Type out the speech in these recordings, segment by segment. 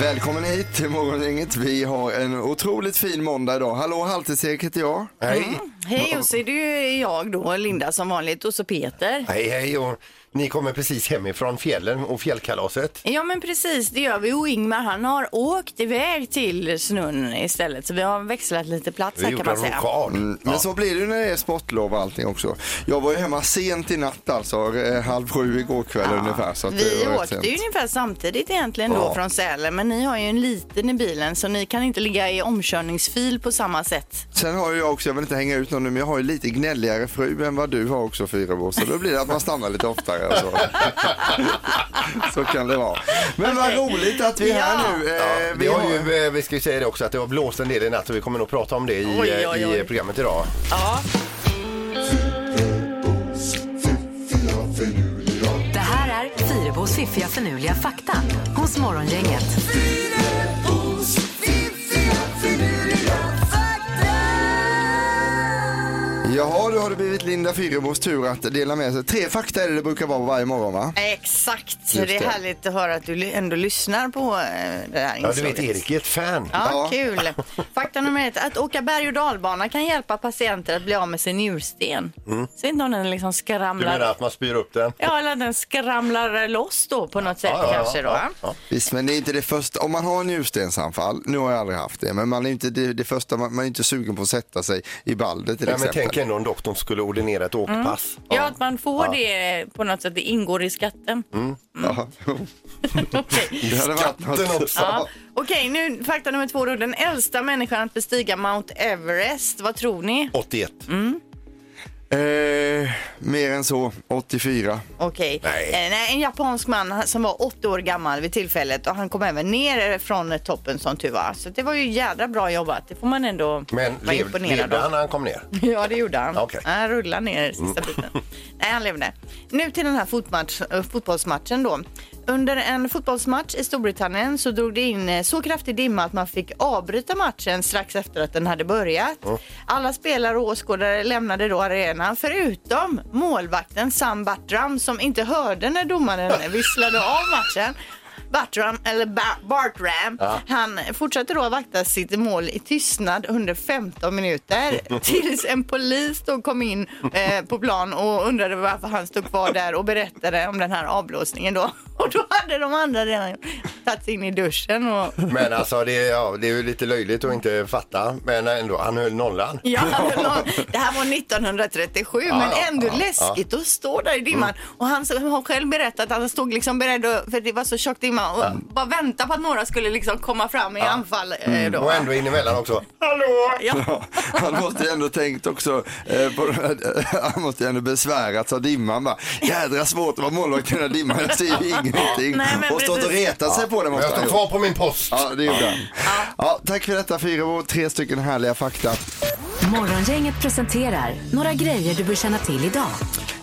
Välkommen hit till Morgongänget. Vi har en otroligt fin måndag idag. Hallå, Haltersäk heter jag. Hej, Hej Jussi, det är jag då, Linda som vanligt och så Peter. hej, hej och ni kommer precis hemifrån fjällen och fjällkalaset. Ja men precis, det gör vi och Ingmar han har åkt iväg till snön istället så vi har växlat lite plats Vi här kan gjorde man en säga. rokad. Mm, Men så blir det ju när det är sportlov och allting också. Jag var ju hemma sent i natt alltså, eh, halv sju igår kväll ungefär. Så att det Vi var rätt åkte sent. ju ungefär samtidigt egentligen då Ja. från Sälen men ni har ju en liten i bilen så ni kan inte ligga i omkörningsfil på samma sätt. Sen har ju jag också, jag vill inte hänga ut någon nu, men jag har ju lite gnälligare fru än vad du har också Fyrebo. Så då blir det att man stannar lite oftare. Alltså. så kan det vara. Men vad roligt att vi är här nu. Eh, Ja, vi har ju... ju, eh, vi ska ju säga det också att det har blåst en del i natt och vi kommer nog prata om det i, Oj, eh, oj, i oj. eh, programmet idag. Ja, Det här är Fyrabos fiffiga förnuliga fakta hos Morgongänget. Jaha, då har det blivit Linda Fyrebos tur att dela med sig. Tre fakta är det det brukar vara varje morgon va? exakt. Det. det det. är härligt att höra att du li- ändå lyssnar på eh, det här Ja, inslaget. du vet Erik är ett fan. Ja, Ja. kul. Fakta nummer ett. Att åka berg och dalbana kan hjälpa patienter att bli av med sin njursten. Så inte om den liksom Mm. Du skramlar... menar att man spyr upp den? Ja, eller att den skramlar loss då på något sätt Ja, ja, ja, kanske då. ja, ja. Visst, men det är inte det första. Om man har en njurstensanfall, nu har jag aldrig haft det, men man är inte det, det första, man, man är inte sugen på att sätta sig i baldet till Nej, men exempel. tänk ändå om doktorn skulle ordinera ett åkpass. Mm. Ja, att man får det på något sätt. Det ingår i skatten. Mm. Ja. Okej. Det hade varit Skatten något. också. Ja. Okej, nu fakta nummer två då. Den äldsta människan att bestiga Mount Everest. Vad tror ni? 81. Mm. Eh, mer än så, 84. Okej. Nej. Eh, nej, en japansk man han- som var 80 år gammal vid tillfället och han kom även ner från toppen som tur var. Så det var ju jädra bra jobbat. Det får man ändå Men vara lev, imponerad levde han av. när han kom ner? Ja, det gjorde han. Okej. Han rullade ner sista biten. Nej, han levde. Nu till den här fotmatch, eh, fotbollsmatchen då. Under en fotbollsmatch i Storbritannien så drog det in eh, så kraftig dimma att man fick avbryta matchen strax efter att den hade börjat. Alla spelare och åskådare lämnade då arenan förutom målvakten Sam Bartram som inte hörde när domaren visslade av matchen. Bartram, eller Ba- Bartram, han fortsatte då att vakta sitt mål i tystnad under 15 minuter tills en polis då kom in eh, på plan och undrade varför han stod kvar där och berättade om den här avblåsningen då. Och då hade de andra redan tagit sig in i duschen och Men alltså det, ja, det är ju lite löjligt att inte fatta. Men ändå, han höll nollan. Ja, men någon, det här var 1937 men ja, ändå ja, Mm. läskigt att stå där i dimman. Och han s- har själv berättat att han stod liksom beredd och, för det var så tjock dimma och bara väntade på att några skulle liksom komma fram i anfall. eh, Då. Mm. Och ändå in emellan också. Ja. Han måste ju ändå tänkt också, eh, på, han måste ju ändå besvärats av dimman bara. Jädra svårt att vara målvakt i den här dimman, jag ser ju ingenting. Nej, men och stått och precis. retat sig på det Men måste jag han ha står kvar gjort. på min post. Ja, det gjorde han. Ja, tack för detta Fyrebo, tre stycken härliga fakta. Morgongänget presenterar några grejer du bör känna till idag.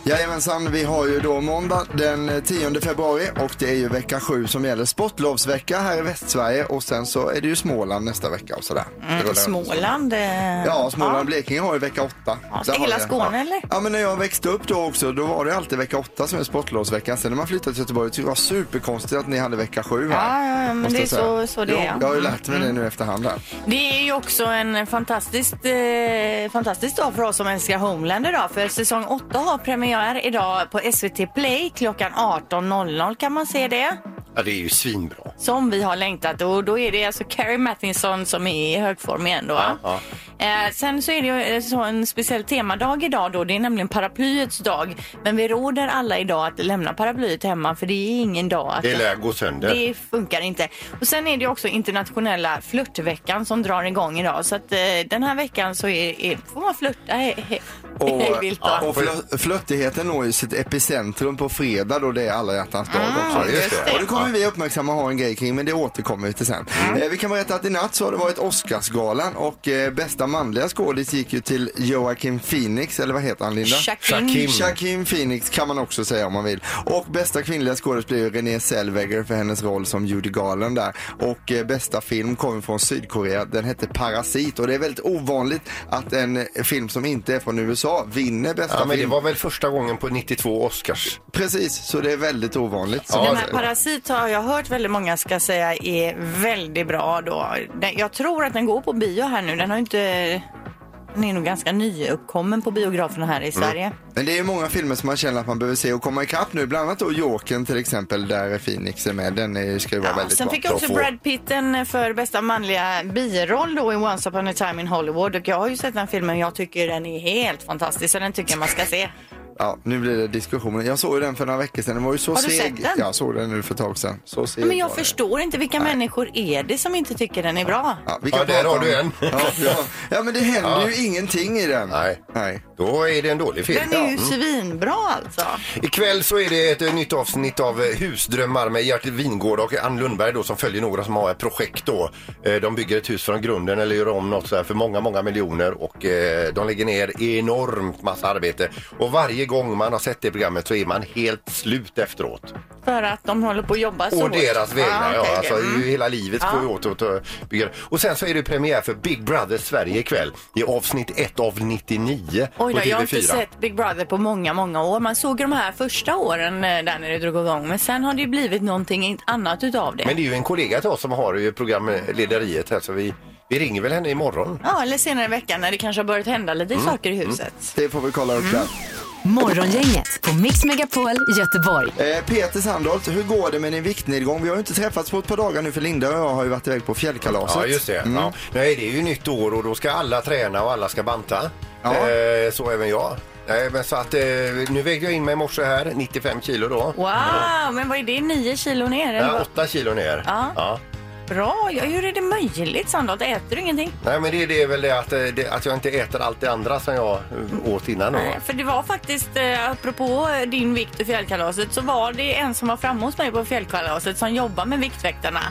Jajamensan, vi har ju då måndag den 10 februari och det är ju vecka 7 som gäller sportlovsvecka här i Västsverige och sen så är det ju Småland nästa vecka och sådär. Det Mm. rullar runt. Småland. eh, Ja, Småland och Blekinge har ju vecka 8. Ja, så hela Skåne, eller? Ja, men när jag växte upp då också, då var det alltid vecka 8 som är sportlovsveckan. Sen när man flyttade till Göteborg tyckte jag det var superkonstigt att ni hade vecka 7 här. Ja, ja, ja, men måste det är jag säga. så- så det Jo, är, ja. Mm. Jag har ju lärt mig det nu efterhand här. Det är ju också en fantastisk, eh, fantastisk dag för oss som älskar Homeland idag. För säsong 8 har premiär idag på SVT Play klockan 18.00 kan man se det. Ja, det är ju svinbra. som vi har längtat och då är det alltså Carrie Mattinson som är i högform igen då. va? Ja, Eh, sen så är det ju eh, så en speciell temadag idag då. Det är nämligen paraplyets dag. Men vi råder alla idag att lämna paraplyet hemma för det är ingen dag att... Det lär gå sönder. Det funkar inte. Och sen är det ju också internationella flörtveckan som drar igång idag. Så att eh, den här veckan så är, är, får man flörta he, he, hej vilt då. och flö- flörtigheten når ju sitt epicentrum på fredag då det är alla hjärtans dag också. Ah, just det. Och det kommer vi uppmärksamma och ha en grej kring men det återkommer vi till sen. Mm. Eh, vi kan berätta att i natt så har det varit Oscarsgalan och eh, bästa manliga skådis gick ju till Joaquin Phoenix, eller vad heter han Linda? Shaquin. Shaquin. Shaquin Phoenix kan man också säga om man vill. Och bästa kvinnliga skådis blir ju Renée Zellweger för hennes roll som Judy Garland där. Och eh, bästa film kommer från Sydkorea. Den hette Parasit och det är väldigt ovanligt att en eh, film som inte är från USA USA vinner bästa Ja, men det film. var väl första gången på 92 Oscars. Precis, så det är väldigt ovanligt. Ja, Den Så- här Parasit har jag hört väldigt många ska säga är väldigt bra då. Den, jag tror att den går på bio här nu. Den har ju inte... Den är nog ganska nyuppkommen på biograferna Mm. här i Sverige. Men det är ju många filmer som man känner att man behöver se och komma ikapp nu. Bland annat då Jokern till exempel, där Phoenix är med. Den är, ska ju vara Ja, väldigt sen bra. fick också Bra få. Brad Pitt en eh, för bästa manliga biroll då i Once upon a time in Hollywood. Och jag har ju sett den filmen och jag tycker den är helt fantastisk. Så den tycker jag man ska se. Ja, nu blir det diskussioner. Jag såg ju den för några veckor sedan. Den var ju så Har du seg. sett den? Jag såg den nu för ett tag sedan. Så seg Men jag var den. förstår inte vilka människor är det som inte tycker den är bra? Ja, vi Ja, där prata har om- du en. Ja, ja. ja, men det händer ju ingenting i den. Nej. Nej. Då är Mm. det en dålig film. Den är ju svinbra alltså. Ikväll så är det ett eh, nytt avsnitt av eh, Husdrömmar med Gert Wingård och Ann Lundberg då som följer några som har ett projekt då. Eh, De bygger ett hus från grunden eller gör om något så här för många, många miljoner och eh, de lägger ner enormt massa arbete. Och varje gång man har sett det programmet så är man helt slut efteråt. För att de håller på att jobba så Och deras hårt. vägnar, okej, ja. okej. Alltså, Mm. ju Hela livet går ju åt att bygga. Och sen så är det premiär för Big Brother Sverige ikväll i avsnitt 1 av 99 Oj på då, TV4. jag har inte sett Big Brother på många, många år. Man såg ju de här första åren eh, där när det drog igång. Men sen har det ju blivit någonting annat utav det. Men det är ju en kollega till oss som har ju programlederiet här så vi, vi ringer väl henne imorgon. Ja, eller senare i veckan när det kanske har börjat hända lite Mm, saker i huset. Det får vi kolla upp där. Morgongänget på Mix Megapol Göteborg. Eh, Peter Sandholt, hur går det med din viktnedgång? Vi har ju inte träffats på ett par dagar nu för Linda och jag har ju varit iväg på fjällkalaset. Ja, just det. Mm. Ja. Nej, det är ju nytt år och då ska alla träna och alla ska banta. Ja. Eh, så även jag. Nej, men så att, eh, nu vägde jag in mig i morse här, 95 kilo då. Wow, men vad är det? Nio kilo ner? eller Ja, vad? 8 kilo ner. Ja. Bra, ja, hur är det möjligt Sandholt? Äter du ingenting? Nej, men det, är- det är väl det att, eh, det att jag inte äter allt det andra som jag eh, åt innan då. För det var faktiskt, eh, apropå eh, din vikt och fjällkalaset, så var det en som var framme hos mig på fjällkalaset som jobbar med Viktväktarna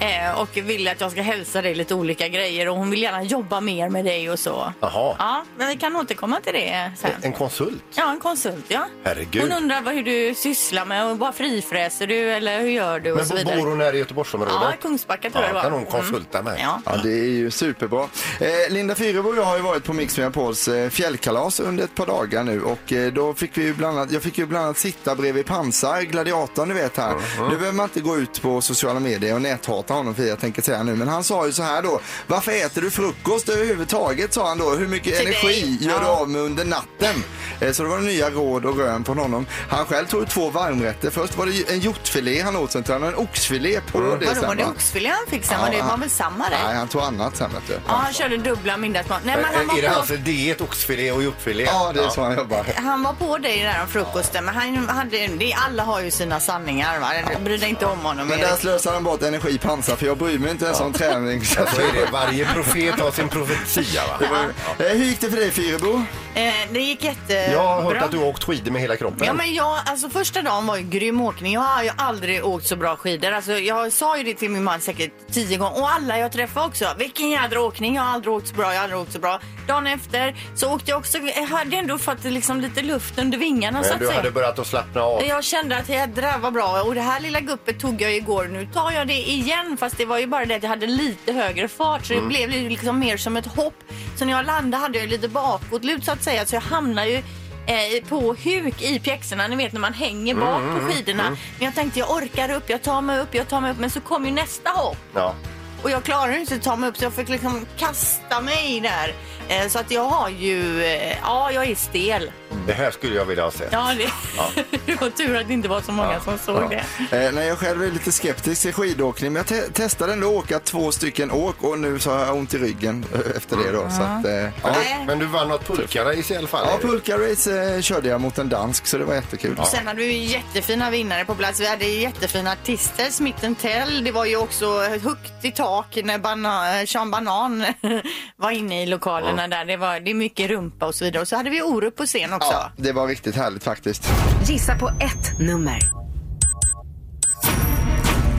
eh, och vill att jag ska hälsa dig lite olika grejer och hon vill gärna jobba mer med dig och så. Jaha, Ja, men vi kan återkomma till det sen. en konsult. Ja, en konsult ja. Herregud. Hon undrar vad, hur du sysslar med och bara frifräser du eller hur gör du och Men så vidare. bor hon här i Göteborgsområdet? Ja, Kungsbacka tror jag det Ja, var. Mm. kan hon konsulta mig? Ja. Ja, det är ju superbra. Eh, Linda Fyrebo och jag har ju varit på Mix Megapols eh, fjällkalas under ett par dagar nu och eh, då fick vi ju bland annat, jag fick ju bland annat sitta bredvid Pansar, gladiatorn du vet här. Nu behöver man inte gå ut på sociala medier och näthata honom för jag tänker säga nu, men han sa ju så här då, varför äter du frukost överhuvudtaget sa han då, hur mycket Till energi dig. gör du Ja. av med under natten? Eh, Så det var nya råd och rön från honom. Han själv tog två varmrätter, först var det ju en hjortfilé han åt, sen tog han en oxfilé på det Mm. Vadå, sen, var det va? oxfilé han fick sen? var det han- var väl samma där? Nej, han tog annat sen vet du. Ja, han körde dubbla middagsmat. Nej, men han Är det var på... alltså diet, oxfilé och hjortfilé? Ja, det är så han jobbar. Han var på dig där om frukosten, men han hade, det, alla har ju sina sanningar. Va? Bry dig inte om honom. Men Erik. där slösar han bort energi i pansar för jag bryr mig inte ens om träning. Så. Så är det. Varje profet har sin profetia va? Det var ju- Eh, Hur gick det för dig Fyrebo? eh, det gick jättebra. Jag har hört att du har åkt skidor med hela kroppen. Ja, men jag, alltså första dagen var ju grym åkning. Jag har ju aldrig åkt så bra skidor. Alltså, jag sa ju det till min man säkert tio gånger och alla jag träffade också. Vilken jädra åkning, jag har aldrig åkt så bra, jag har aldrig åkt så bra. Dagen efter så åkte jag också, jag hade ändå fått liksom lite luft under vingarna så Men att du säga. hade börjat att slappna av. Jag kände att jädrar vad bra och det här lilla guppet tog jag igår. Nu tar jag det igen fast det var ju bara det att jag hade lite högre fart så det blev ju liksom mer som ett hopp. Så när jag landade hade jag lite bakåtlut så att säga så jag hamnade ju eh, på huk i pjäxorna, ni vet när man hänger bak på skidorna. Men jag tänkte jag orkar upp, jag tar mig upp, jag tar mig upp. Men så kom ju nästa hopp Ja. och jag klarade inte att ta mig upp så jag fick liksom kasta mig där. Eh, så att jag har ju, eh, ja jag är stel. Det här skulle jag vilja ha sett. Ja, det, det var tur att det inte var så många som såg det. Eh, nej, jag själv är lite skeptisk till skidåkning men jag te- testade ändå att åka två stycken åk och nu så har jag ont i ryggen eh, efter det Mm. då. Så att, eh, ja. Nej. Men du vann något pulkarace i alla fall. ja, Erik. pulka-race eh, körde jag mot en dansk så det var jättekul. Och sen hade vi ju jättefina vinnare på plats. Vi hade jättefina artister. Smith Tell. Det var ju också högt i tak när Bana- Sean Banan var inne i lokalerna där. Det, var, det är mycket rumpa och så vidare. Och så hade vi Orup på scen också. Ja, det var riktigt härligt faktiskt. Gissa på ett nummer.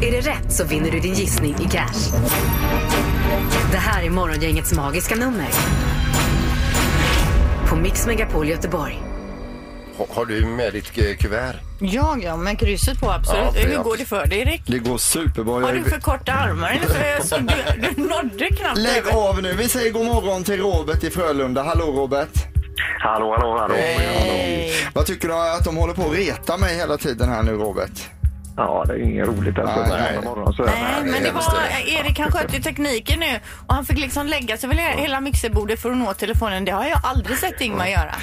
Är det rätt så vinner du din gissning i cash. Det här är Morgongängets magiska nummer. På Mix Megapol Göteborg. Ha- Har du med ditt eh, kuvert? Ja, ja, men krysset på absolut. Ja, det- Hur går det för dig, Erik? Det går superbra. Har Jag- du för korta armar? Eller för, så du, du nådde knappt Lägg över. av nu. Vi säger god morgon till Robert i Frölunda. Hallå Robert. Hallå, hallå, hallå. Hej. Vad tycker du att de håller på att reta mig hela tiden här nu Robert? Ja, det är inget roligt alltså. Nej, Nej, nej. Morgon, så är Nej, men det hemskt, var, Erik han skötte ju tekniken nu och han fick liksom lägga sig över hela mixerbordet för att nå telefonen. Det har jag aldrig sett Ingmar göra.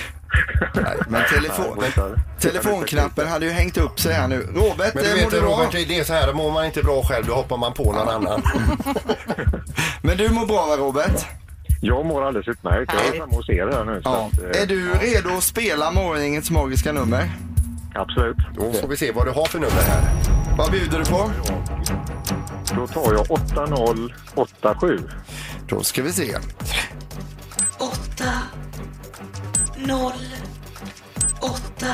Nej, men telefon, men telefonknappen hade ju hängt upp sig här nu. Robert, Men du eh, mår vet du bra? Robert, det är så här, mår man inte bra själv då hoppar man på någon annan. Men du mår bra va Robert? Jag mår alldeles utmärkt. Jag är Härligt. framme hos er här nu. så Ja. att, eh, Är du redo att spela morgongängets magiska nummer? Absolut. Då får vi se vad du har för nummer här. Vad bjuder du på? Då tar jag 8087. Då ska vi se. 8 0 8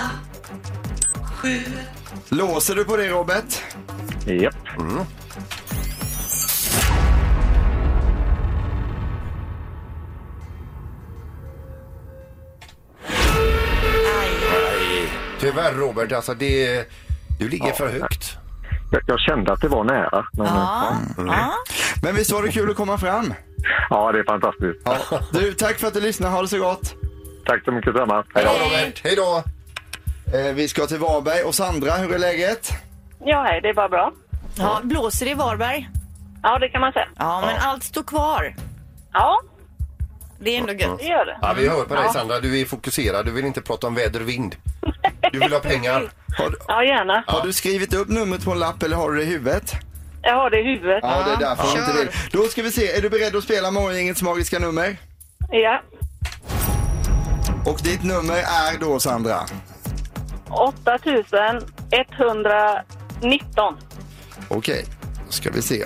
7 Låser du på det Robert? Japp. Tyvärr Robert, alltså det... Du ligger för högt. Jag, jag kände att det var nära. Men, Ja, ja. Men visst var det kul att komma fram? ja, det är fantastiskt. Ja. Du, tack för att du lyssnade. Ha det så gott. Tack så mycket samma. Hej då Robert, hej då! Eh, vi ska till Varberg. Och Sandra, hur är läget? Ja, hej, det är bara bra. ja blåser det i Varberg? Ja, det kan man säga. Ja, men allt står kvar. Ja, Det är ändå gött. det gör det. Ja, vi hör på dig Sandra, du är fokuserad, du vill inte prata om väder och vind. Du vill ha pengar. Har, du- Ja, gärna. har du skrivit upp numret på en lapp eller har du det i huvudet? Jag har det i huvudet. Ja, det är därför hon inte Kör. vill. Då ska vi se. Är du beredd att spela morgongängets magiska nummer? Ja. Och ditt nummer är då, Sandra? 8119. Okej, då ska vi se.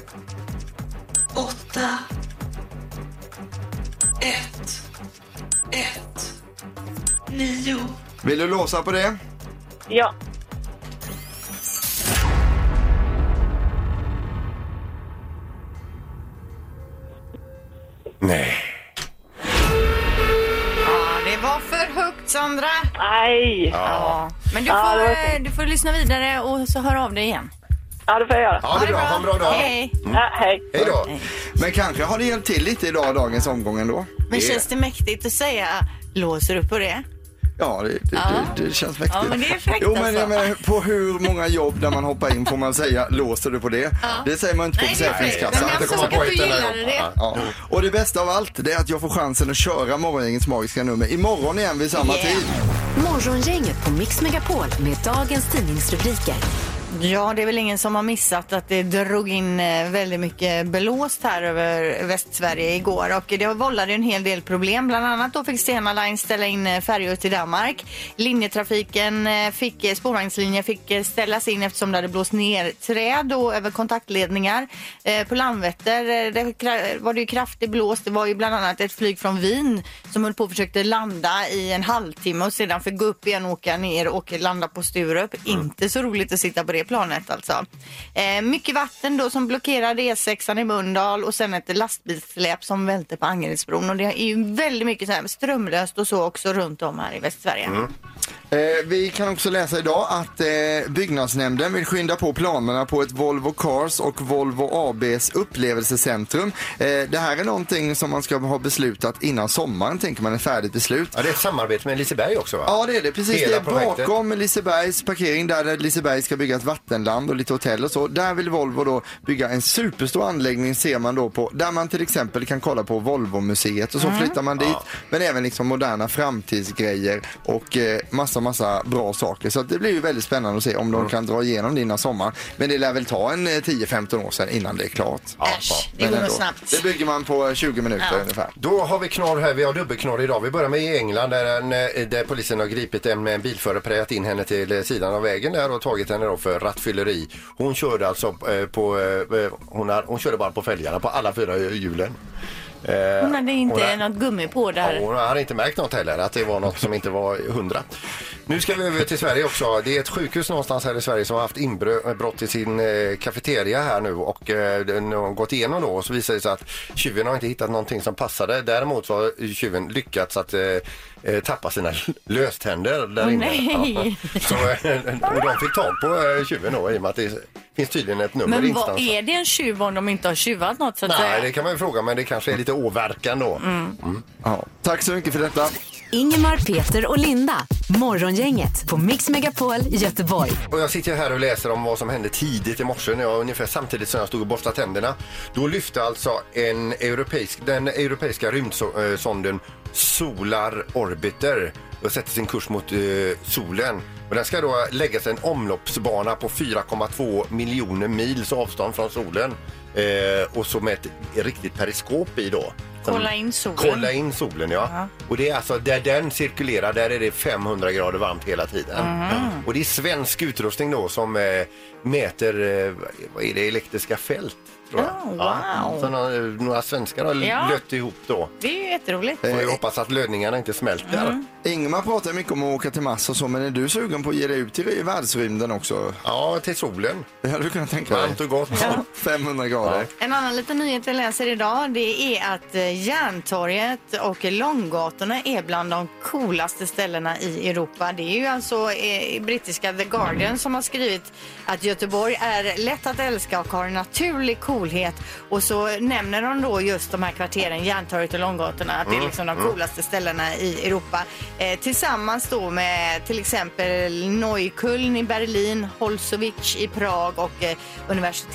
8 1 1 9 Vill du låsa på det? Ja. Nej. Ja, det var för högt Sandra. Nej. Ja. Men du Ja, får, det var eh, du får lyssna vidare och så hör av dig igen. Ja, det får jag göra. Ja, det är bra. Ha en bra dag. Hej Hej. Mm. Ja, hej. då. Men kanske har det hjälpt till lite idag, dagens omgång ändå. Men Det- känns det mäktigt att säga låser du på det? Ja, det, det, det, det känns mäktigt. Ja, men det är fräckt Jo, men alltså. jag menar, på hur många jobb där man hoppar in får man säga låser du på det? Det säger man inte på Nej, det är fräckt. Försäkringskassan. Men Det kommer- jag såg att på du ett enda gillade jobb. det. Ja. Och det bästa av allt det är att jag får chansen att köra morgongängets magiska nummer imorgon igen vid samma Yeah. tid. Morgongänget på Mix Megapol med dagens tidningsrubriker. Ja, det är väl ingen som har missat att det drog in eh, väldigt mycket blåst här över Västsverige igår och det vållade ju en hel del problem. Bland annat då fick Stena Line ställa in eh, färjor till Danmark. Linjetrafiken eh, fick, eh, spårvagnslinjer fick eh, ställas in eftersom det hade blåst ner träd och över kontaktledningar. Eh, På Landvetter eh, det kra- var det ju kraftig blåst. Det var ju bland annat ett flyg från Wien som höll på och försökte landa i en halvtimme och sedan fick gå upp igen och åka ner och landa på Sturup. Inte så roligt att sitta på det planet alltså. Eh, mycket vatten då som blockerade E6 i Mölndal och sen ett lastbilssläp som välte på Angeredsbron. Och det är ju väldigt mycket så här strömlöst och så också runt om här i Västsverige. Eh, vi kan också läsa idag att eh, byggnadsnämnden vill skynda på planerna på ett Volvo Cars och Volvo ABs upplevelsecentrum. Eh, det här är någonting som man ska ha beslutat innan sommaren, tänker man, ett färdigt beslut. Ja, det är ett samarbete med Liseberg också va? Ja det är det, precis. Hela det är projektet. bakom Lisebergs parkering där där Liseberg ska bygga ett vattenland och lite hotell och så. Där vill Volvo då bygga en superstor anläggning ser man då på, där man till exempel kan kolla på Volvo-museet och Mm. så flyttar man dit. Men även liksom moderna framtidsgrejer och eh, massa, massa bra saker. Så att det blir ju väldigt spännande att se om Mm. de kan dra igenom det innan sommaren. Men det lär väl ta en eh, 10-15 år sedan innan det är klart. Äsch, det Men går nog ändå. snabbt. Det bygger man på 20 minuter ungefär. Då har vi knorr här, vi har dubbelknorr idag. Vi börjar med i England där, en, eh, där polisen har gripit en med en bilförare, prejat in henne till eh, sidan av vägen där och tagit henne då för rattfylleri. Hon körde alltså eh, på, eh, hon, har, hon körde bara på fälgarna, på alla fyra hjulen. Eh, Hon hade inte hon har- något gummi på där. Ja, hon hade inte märkt något heller, att det var något som inte var hundra. Nu ska vi över till Sverige också. Det är ett sjukhus någonstans här i Sverige som har haft inbrott i sin eh, kafeteria här nu och eh, den har gått igenom då och så visar det sig att tjuven har inte hittat någonting som passade. Däremot så har tjuven lyckats att eh, eh, tappa sina löständer där Åh, inne. nej. Ja. Så, eh, och de fick tag på eh, tjuven då i och med att det finns tydligen ett nummer Men instans. vad är det en tjuv om de inte har tjuvat något så att Nej, säga? Mm. det kan man ju fråga men det kanske är lite åverkan då. Ja. Tack så mycket för detta. Ingemar, Peter och Linda. Morgongänget på Mix Megapol Göteborg. Och jag sitter här och läser om vad som hände tidigt i morse när jag, ungefär samtidigt som jag stod och borstade tänderna. Då lyfte alltså en europeisk, den europeiska rymdsonden Solar Orbiter och sätter sin kurs mot eh, solen. Och den ska då lägga sig en omloppsbana på 4,2 miljoner mils avstånd från solen. Eh, och så med ett riktigt periskop i då. Som- Kolla in solen. Kolla in solen, ja. Och det är alltså där den cirkulerar, där är det 500 grader varmt hela tiden. Mhm. Och det är svensk utrustning då som eh, mäter, eh, vad är det, elektriska fält? Tror jag. Oh, wow. ja. Så några, några svenskar har Ja. lött ihop då. Det är ju jätteroligt. Får vi hoppas att lödningarna inte smälter. Mm. Ingmar pratar mycket om att åka till Mars och så, men är du sugen på att ge dig ut i världsrymden också? Ja, till solen. Det hade du kunnat tänka dig. Varmt och gott. 500 grader. En annan liten nyhet vi läser idag det är att eh, Järntorget och Långgatorna är bland de coolaste ställena i Europa. Det är ju alltså eh, brittiska The Guardian som har skrivit att Göteborg är lätt att älska och har en naturlig coolhet. Och så nämner de då just de här kvarteren, Järntorget och Långgatorna, att det Mm, är liksom de coolaste ställena i Europa. Eh, tillsammans då med till exempel Neukölln i Berlin, Holzovic i Prag och eh,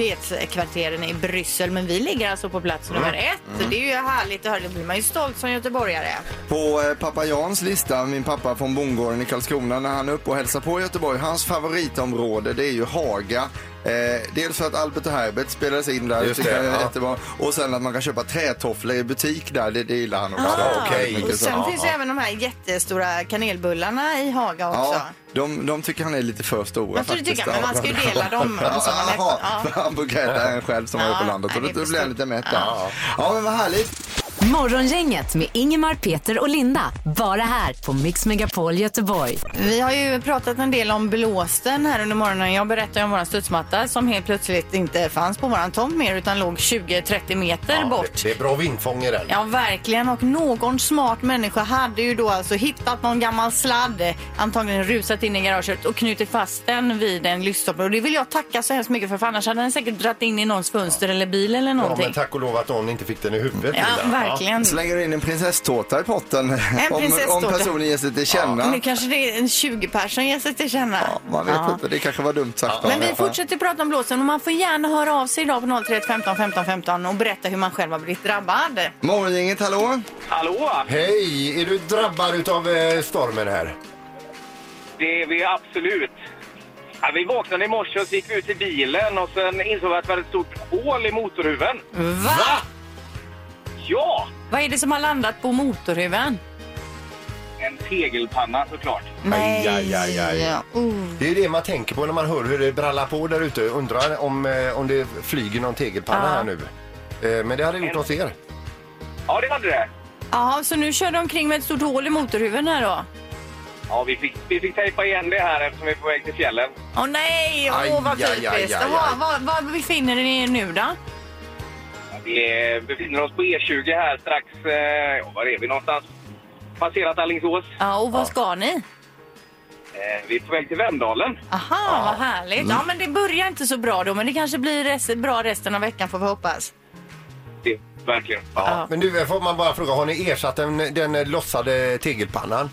universitetskvarteren i Bryssel. Men vi ligger alltså på plats nummer Mm. ett. Det är ju härligt att höra. Det blir man ju stolt som göteborgare. På eh, pappa Jans lista, min pappa från bondgården i Karlskrona, när han är uppe och hälsar på i Göteborg, hans favoritområde det är ju Haga. Eh, dels för att Albert och Herbert spelades in där, Just tycker det, jag är ja. jättebra. Och sen att man kan köpa trätofflor i butik där, det, det gillar han också. Ah, okej. Mycket Och så. sen Ja, finns ja. ju även de här jättestora kanelbullarna i Haga också. Ja, de, de tycker han är lite för stora Man skulle faktiskt. tycka, men man ska ju dela dem. Ja, Alltså, man Jaha, ja. för han brukar äta en själv som Ja, är på landet och nej, då det är då blir han förstått. lite mätt där. Ja. Ja, men vad härligt. Morgongänget med Ingemar, Peter och Linda. Bara här på Mix Megapol Göteborg. Vi har ju pratat en del om blåsten här under morgonen. Jag berättade om våran studsmatta som helt plötsligt inte fanns på våran tomt mer utan låg 20-30 meter Ja, bort. det, det är bra vindfång i den. Ja, verkligen. Och någon smart människa hade ju då alltså hittat någon gammal sladd, antagligen rusat in i garaget och knutit fast den vid en lyktstolpe. Och det vill jag tacka så hemskt mycket för, för annars hade den säkert dratt in i någons fönster eller bil eller Ja, någonting. men tack och lov att någon inte fick den i huvudet. Ja, Linda. verkligen. Slänger du in en prinsesstårta i potten om, om Mm. prinsesstårta. personen ger sig till känna. Nu kanske det är en 20 som ger sig till känna. Ja, man vet inte, det kanske var dumt sagt. av Men vi henne. fortsätter prata om blåsten och man får gärna höra av sig idag på 031 15 15 15 och berätta hur man själv har blivit drabbad. Morgongänget, hallå? Hallå! Hej! Är du drabbad av eh, stormen här? Det är vi absolut. Ja, vi vaknade i morse och så gick vi ut till bilen och sen insåg vi att vi hade ett stort hål i motorhuven. Va? Ja! Vad är det som har landat på motorhuven? En tegelpanna såklart. Nej. aj, aj, aj. Ja, oh. Det är det man tänker på när man hör hur det brallar på där ute. Undrar om, eh, om det flyger någon tegelpanna Ja. här nu. Eh, Men det hade gjort oss er. Ja, det hade det. Jaha, så nu kör de omkring med ett stort hål i motorhuven här då? Ja, vi fick, vi fick tejpa igen det här eftersom vi är på väg till fjällen. Åh nej, åh Aj, vad aj, aj, typiskt. aj, Var, aj. var, var befinner ni er nu då? Ja, Vi eh, befinner oss på E20 här strax. Eh, ja, var är vi någonstans? Passerat Alingsås. Ja, och vad ska ni? Eh, vi är på väg till Vemdalen. Aha, vad härligt. Ja, Mm. men det börjar inte så bra då, men det kanske blir res- bra resten av veckan får vi hoppas. Det, verkligen. Ja. Men du, får man bara fråga, har ni ersatt den, den eh, lossade tegelpannan?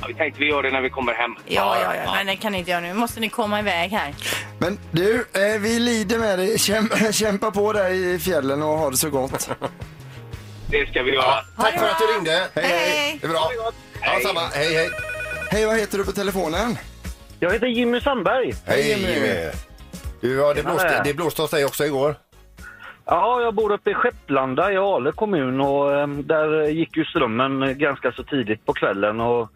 Ja, vi tänkte vi gör det när vi kommer hem. Ja, ja, ja, men det kan ni inte göra nu. Måste ni komma iväg här? Men du, eh, vi lider med dig. Kämpa, kämpa på där i fjällen och ha det så gott. Det ska vi göra. Tack för att du ringde! Hej. Det är bra. Ja, samma. Hej, hej! Hej, vad heter du på telefonen? Jag heter Jimmy Sandberg. Hej, Jimmy! Du, ja, det, blåste, med. det blåste hos dig också igår. Ja, jag bor uppe i Skepplanda i Ale kommun och eh, där gick ju strömmen ganska så tidigt på kvällen och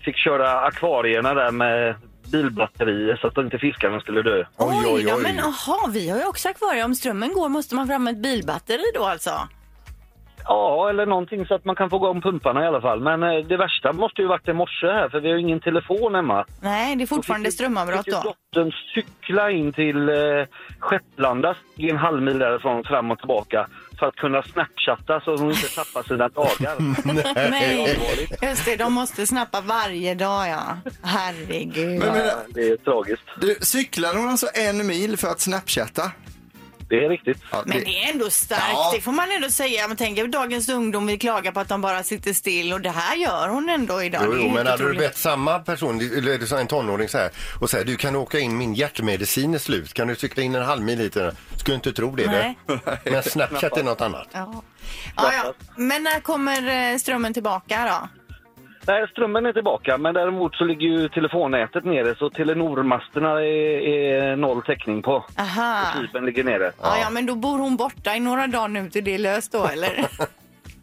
fick köra akvarierna där med bilbatterier så att inte fiskarna skulle dö. Oj, oj, då, oj. men aha, vi har ju också akvarium. Om strömmen går måste man fram med ett bilbatteri då alltså? Ja, eller någonting så att man kan få igång pumparna i alla fall. Men eh, det värsta måste ju varit i morse här för vi har ju ingen telefon hemma. Nej, det är fortfarande strömavbrott Fick ju då. dottern cykla in till eh, Skepplanda, i en halv mil därifrån, fram och tillbaka för att kunna snapchatta så hon inte tappar sina dagar. Nej, just det, de måste snappa varje dag ja. Herregud. Men, men, Det är tragiskt. du, cyklade hon alltså en mil för att snapchatta? Det är riktigt. Ja, Men det- det är ändå starkt, Ja. det får man ändå säga. Man tänker dagens ungdom vill klaga på att de bara sitter still och det här gör hon ändå idag. Jo, Det är jo, men helt hade du otroligt. bett samma person, eller det sa en tonåring så här, och säger du kan åka in, min hjärtmedicin är slut, kan du cykla in en halv mil hit? Skulle inte tro det. Nej. du. Men Snapchat är något annat. Ja. Ja, ja. Men när kommer eh, strömmen tillbaka då? Nej, strömmen är tillbaka, men däremot så ligger ju telefonnätet nere så Telenor-masterna är, är noll täckning på. Aha. Fibern ligger nere. Ja, ja, men då bor hon borta i några dagar nu till det är löst då, eller?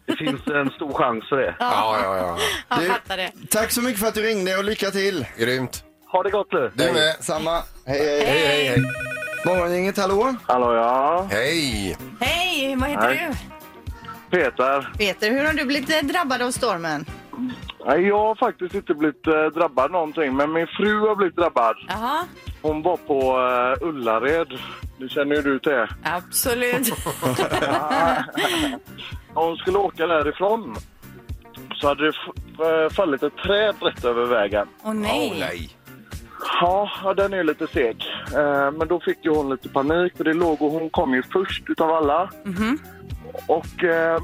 Det finns en stor chans för det. Ja, ja, ja. Jag Du- fattar det. Tack så mycket för att du ringde och lycka till. Grymt. Ha det gott nu! Du med. Samma. Hej, hej. Hej, hej, hej. Morgongänget, hallå? Hallå ja, Hej! Hej, vad heter Hej. du? Peter. Peter, hur har du blivit eh, drabbad av stormen? Nej, jag har faktiskt inte blivit eh, drabbad någonting, men min fru har blivit drabbad. Jaha, Hon var på eh, Ullared. Det känner ju du till. absolut. När hon skulle åka därifrån så hade det f- eh, fallit ett träd rätt över vägen. Åh nej. Åh, nej. Ja, ja, den är lite seg. Eh, men då fick ju hon lite panik för det låg och hon kom ju först utav alla. Mhm. Och eh,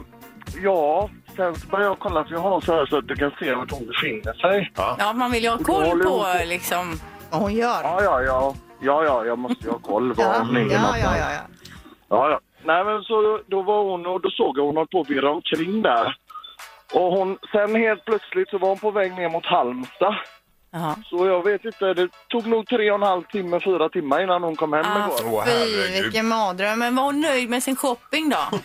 ja, sen så började jag kolla för jag har så här så att du kan se vart hon befinner sig. Ja, man vill ju ha koll på liksom vad hon gör. Ja, ja, ja. Ja, ja, jag måste ju ha koll var hon ligger ja, någonstans. ja, ja, ja. Ja, ja. Nej, men så då var hon och då såg jag hon höll på att virra omkring där. Och hon, sen helt plötsligt så var hon på väg ner mot Halmstad. Jaha. Så jag vet inte, det tog nog tre och en halv timme, fyra timmar innan hon kom hem igår. Åh, Ah, fy, herregud. vilken mardröm. Men var hon nöjd med sin shopping då?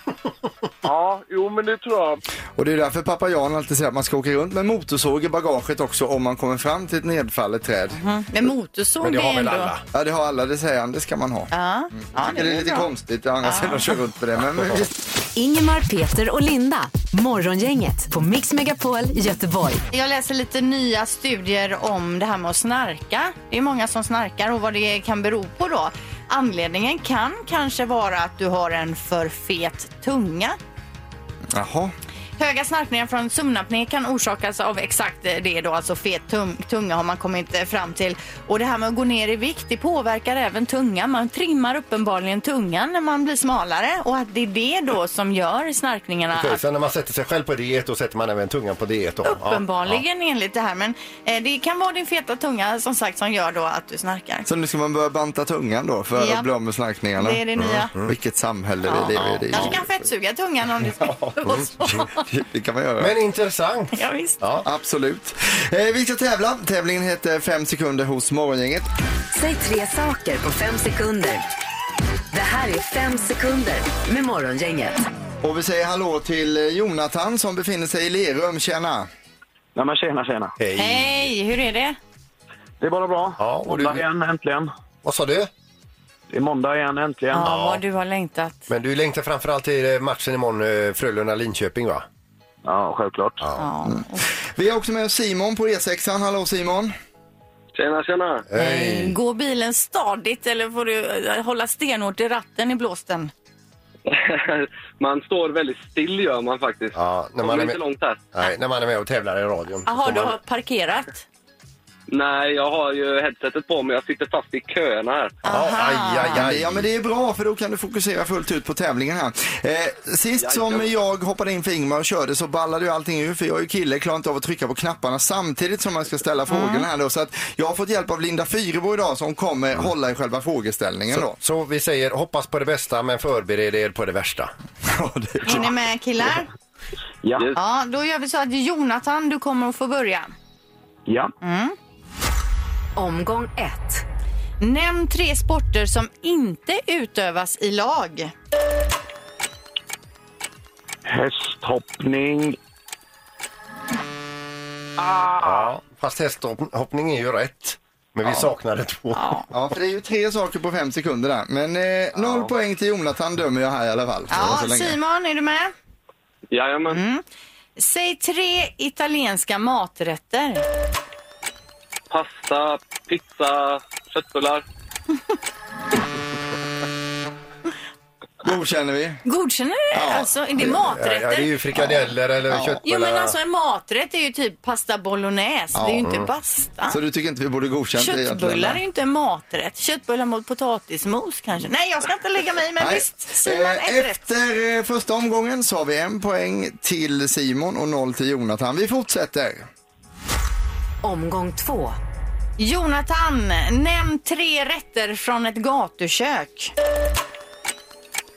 Ja, jo men det tror jag. Och det är därför pappa Jan alltid säger att man ska åka runt med motorsåg i bagaget också om man kommer fram till ett nedfallet träd. Men motorsåg Men det har är väl ändå... alla? Ja, det har alla, det säger han, det ska man ha. Mm. Ja, ja det är lite konstigt å andra sidan att köra runt med det, men visst. Ingemar, Peter och Linda. Morgongänget på Mix Megapol Göteborg. Jag läser lite nya studier om det här med att snarka. Det är många som snarkar och vad det kan bero på då. Anledningen kan kanske vara att du har en för fet tunga. Jaha. Höga snarkningar från sömnapné kan orsakas av exakt det då, alltså fet tung- tunga har man kommit eh, fram till. Och det här med att gå ner i vikt, det påverkar även tungan. Man trimmar uppenbarligen tungan när man blir smalare och att det är det då som gör snarkningarna Okej, att Sen när man sätter sig själv på diet, då sätter man även tungan på diet. Då. Ja, Uppenbarligen enligt det här. Men eh, det kan vara din feta tunga som sagt som gör då att du snarkar. Så nu ska man börja banta tungan då för Ja. att bli av med snarkningarna? Det är det nya. Vilket samhälle vi lever i. Kanske kan fettsuga tungan om det skulle vara så. Det kan man göra. ja. Men intressant. Ja, visst. Absolut. Eh, vi ska tävla. Tävlingen heter 5 sekunder hos Morgongänget. Säg tre saker på fem sekunder. Det här är fem sekunder med Morgongänget. Och vi säger hallå till eh, Jonathan som befinner sig i Lerum. Tjena! Nej men tjena tjena! Hej. Hej, hur är det? Det är bara bra. Ja, och måndag du- igen äntligen. Vad sa du? Det är måndag igen äntligen. Ja, vad du har längtat. Men du längtar framförallt till eh, matchen imorgon, eh, Frölunda-Linköping va? Ja, självklart. Ja. Vi har också med oss Simon på E6. Hallå Simon! Tjena, tjena. Eh, Går bilen stadigt eller får du eh, hålla stenhårt i ratten i blåsten? man står väldigt still gör man faktiskt. Ja, när man Kommer är inte med- långt här. Nej, när man är med och tävlar i radion. Jaha, Får du man- har parkerat? Nej, jag har ju headsetet på mig. Jag sitter fast i köerna här. Ja, aj, aj, Ja, det- aj. Ja men det är bra för då kan du fokusera fullt ut på tävlingen här. Eh, sist som jag hoppade in för Ingmar och körde så ballade ju allting ur för jag är ju kille, klarar inte av att trycka på knapparna samtidigt som man ska Mm. ställa frågorna här då. Så att jag har fått hjälp av Linda Fyrebo idag som kommer Mm. hålla i själva frågeställningen Så, då. så vi säger hoppas på det bästa men förbered er på det värsta. Ja, det är Är ni med killar? Ja. Ja, då gör vi så att Jonathan, du kommer att få börja. Ja. Omgång ett. Nämn tre sporter som inte utövas i lag. Hästhoppning. Ja, fast hästhoppning är ju rätt. Men vi saknade två. Ja, för det är ju tre saker på fem sekunder där. Men eh, noll poäng till Jonathan dömer jag här i alla fall. Ja, Så länge. Simon, är du med? Mm. Jajamän. Säg tre italienska maträtter. Pasta, pizza, köttbullar. Godkänner vi? Godkänner du det? Ja. Alltså, är det Ja, maträtter? ja, det är ju frikadeller eller köttbullar. Jo men alltså en maträtt är ju typ pasta bolognese. Det är ju inte pasta. Så du tycker inte vi borde godkänt det egentligen? Köttbullar är ju inte en maträtt. Köttbullar mot potatismos kanske. Nej jag ska inte lägga mig men Nej. visst. Simon Eh, ett rätt. Efter eh, första omgången så har vi en poäng till Simon och noll till Jonathan. Vi fortsätter. Omgång två. Jonathan, nämn tre rätter från ett gatukök.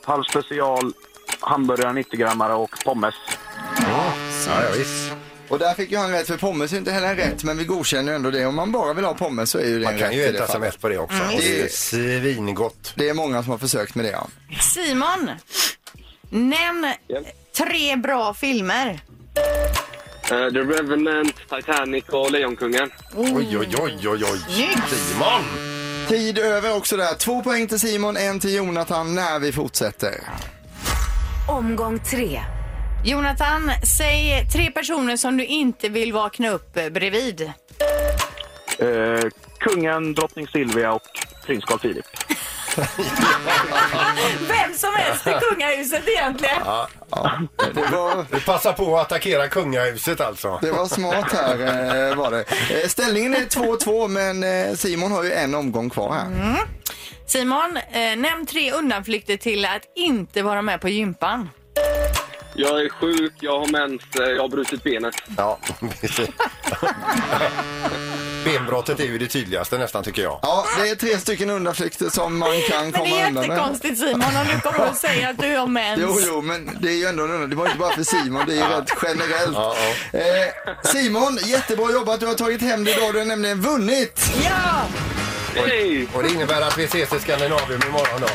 Halv special, hamburgare 90-grammare och pommes. Ja, ja, visst. Och där fick ju han rätt för pommes är inte heller rätt men vi godkänner ändå det. Om man bara vill ha pommes så är ju det Man en kan rätt ju i det äta som fallet. ett på det också. Och det är svingott. Det är många som har försökt med det ja. Simon, nämn tre bra filmer. Eh, The Revenant, Titanic och Lejonkungen. Oj, oj, oj, oj, oj. Snyggt. Simon! Tid över också där. Två poäng till Simon, en till Jonathan när vi fortsätter. Omgång tre. Jonathan, säg tre personer som du inte vill vakna upp eh, bredvid. Eh, kungen, drottning Silvia och prins Carl Philip. Vem som helst i kungahuset egentligen. Det var, Du passar på att attackera kungahuset alltså. det var smart här eh, var det. Eh, Ställningen är 2-2 men eh, Simon har ju en omgång kvar här. Simon, eh, nämn tre undanflykter till att inte vara med på gympan. Jag är sjuk, jag har mens, eh, jag har brutit benet. Ja, precis. Benbrottet är ju det tydligaste nästan tycker jag. Ja, det är tre stycken undanflykter som man kan Men det komma är undan med. jättekonstigt Simon om du kommer att säga att du har mens. Jo, jo, men det är ju ändå en undran. Det var inte bara för Simon, det är ju rätt generellt. Eh, Simon, jättebra jobbat. Du har tagit hem det idag. Du har nämligen vunnit. Ja! Hej! Och det innebär att vi ses i Skandinavium imorgon då.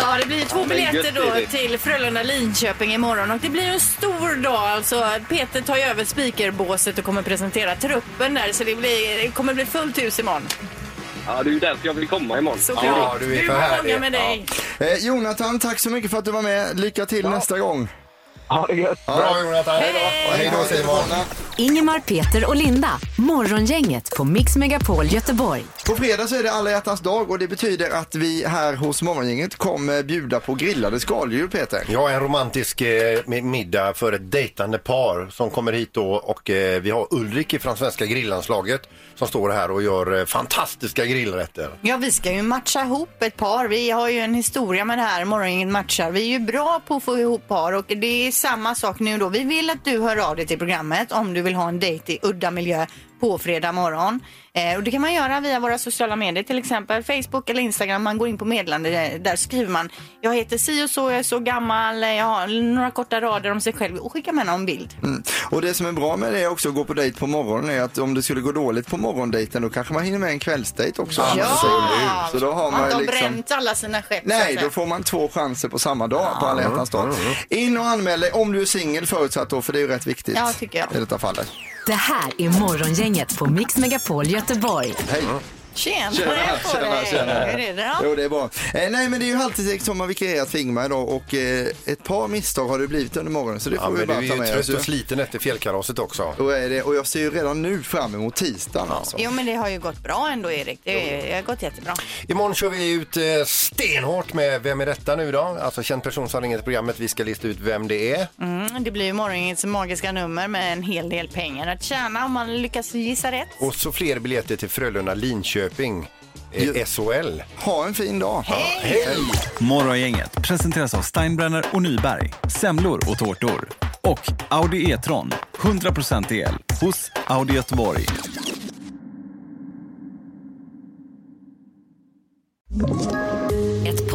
ja, det blir två biljetter gött är då det. till Frölunda-Linköping imorgon och det blir ju en stor dag alltså. Peter tar ju över speakerbåset och kommer presentera truppen där så det, blir, det kommer bli fullt hus imorgon. Ja, det är ju därför jag vill komma imorgon. Så Ja, kul. du är du för var härlig. många med dig. Eh, Jonathan, tack så mycket för att du var med. Lycka till nästa gång. Ha det gött! Bra Jonathan, hej då! Och hej då Simon! Ingemar, Peter och Linda. Morgongänget på Mix Megapol Göteborg. På fredag så är det alla hjärtans dag och det betyder att vi här hos Morgongänget kommer bjuda på grillade skaldjur, Peter. Ja, en romantisk eh, mi- middag för ett dejtande par som kommer hit då och eh, vi har Ulrik från Svenska grillanslaget som står här och gör eh, fantastiska grillrätter. Ja, vi ska ju matcha ihop ett par. Vi har ju en historia med det här Morgongänget matchar. Vi är ju bra på att få ihop par och det är samma sak nu då. Vi vill att du hör av dig till programmet om du vill ha en dejt i udda miljö på fredag morgon. Eh, och det kan man göra via våra sociala medier, till exempel Facebook eller Instagram. Man går in på meddelande eh, där skriver man jag heter si och så, jag är så gammal, eh, jag har några korta rader om sig själv och skickar med någon bild. Mm. Och det som är bra med det också att gå på dejt på morgonen är att om det skulle gå dåligt på morgondejten då kanske man hinner med en kvällsdejt också. Ja! Så då har man man har ju liksom... bränt alla sina skepp. så att Nej, säga. då får man två chanser på samma dag på alla hjärtans dag. In och anmäl dig om du är singel förutsatt då, för det är ju rätt viktigt Ja, tycker jag. i detta fallet. Det här är Morgongänget på Mix Megapol Göteborg. Hej! Tjena, Tjena, jag får tjena, dig. tjena. Hur är det då? Jo, det är bra. Eh, nej, men det är ju halvtids som har vikarierat för Ingmar idag och eh, ett par misstag har det blivit under morgonen så det får Ja, vi men du bara är ju ta med oss. trött ju. och sliten efter fjällkalaset också. Och, är det, och jag ser ju redan nu fram emot tisdagen alltså. Jo, men det har ju gått bra ändå, Erik. Det är- det har gått jättebra. Imorgon kör vi ut eh, stenhårt med Vem är detta nu då? Alltså känd person som ringer till programmet. Vi ska lista ut vem det är. Mm, det blir ju morgonens magiska nummer med en hel del pengar att tjäna om man lyckas gissa rätt. Och så fler biljetter till Frölunda Linköping. Eh, SHL. Ha en fin dag! Morgongänget presenteras av Steinbrenner och Nyberg, semlor och tårtor. Och Audi E-tron, 100% el, hos Audi Göteborg. Ett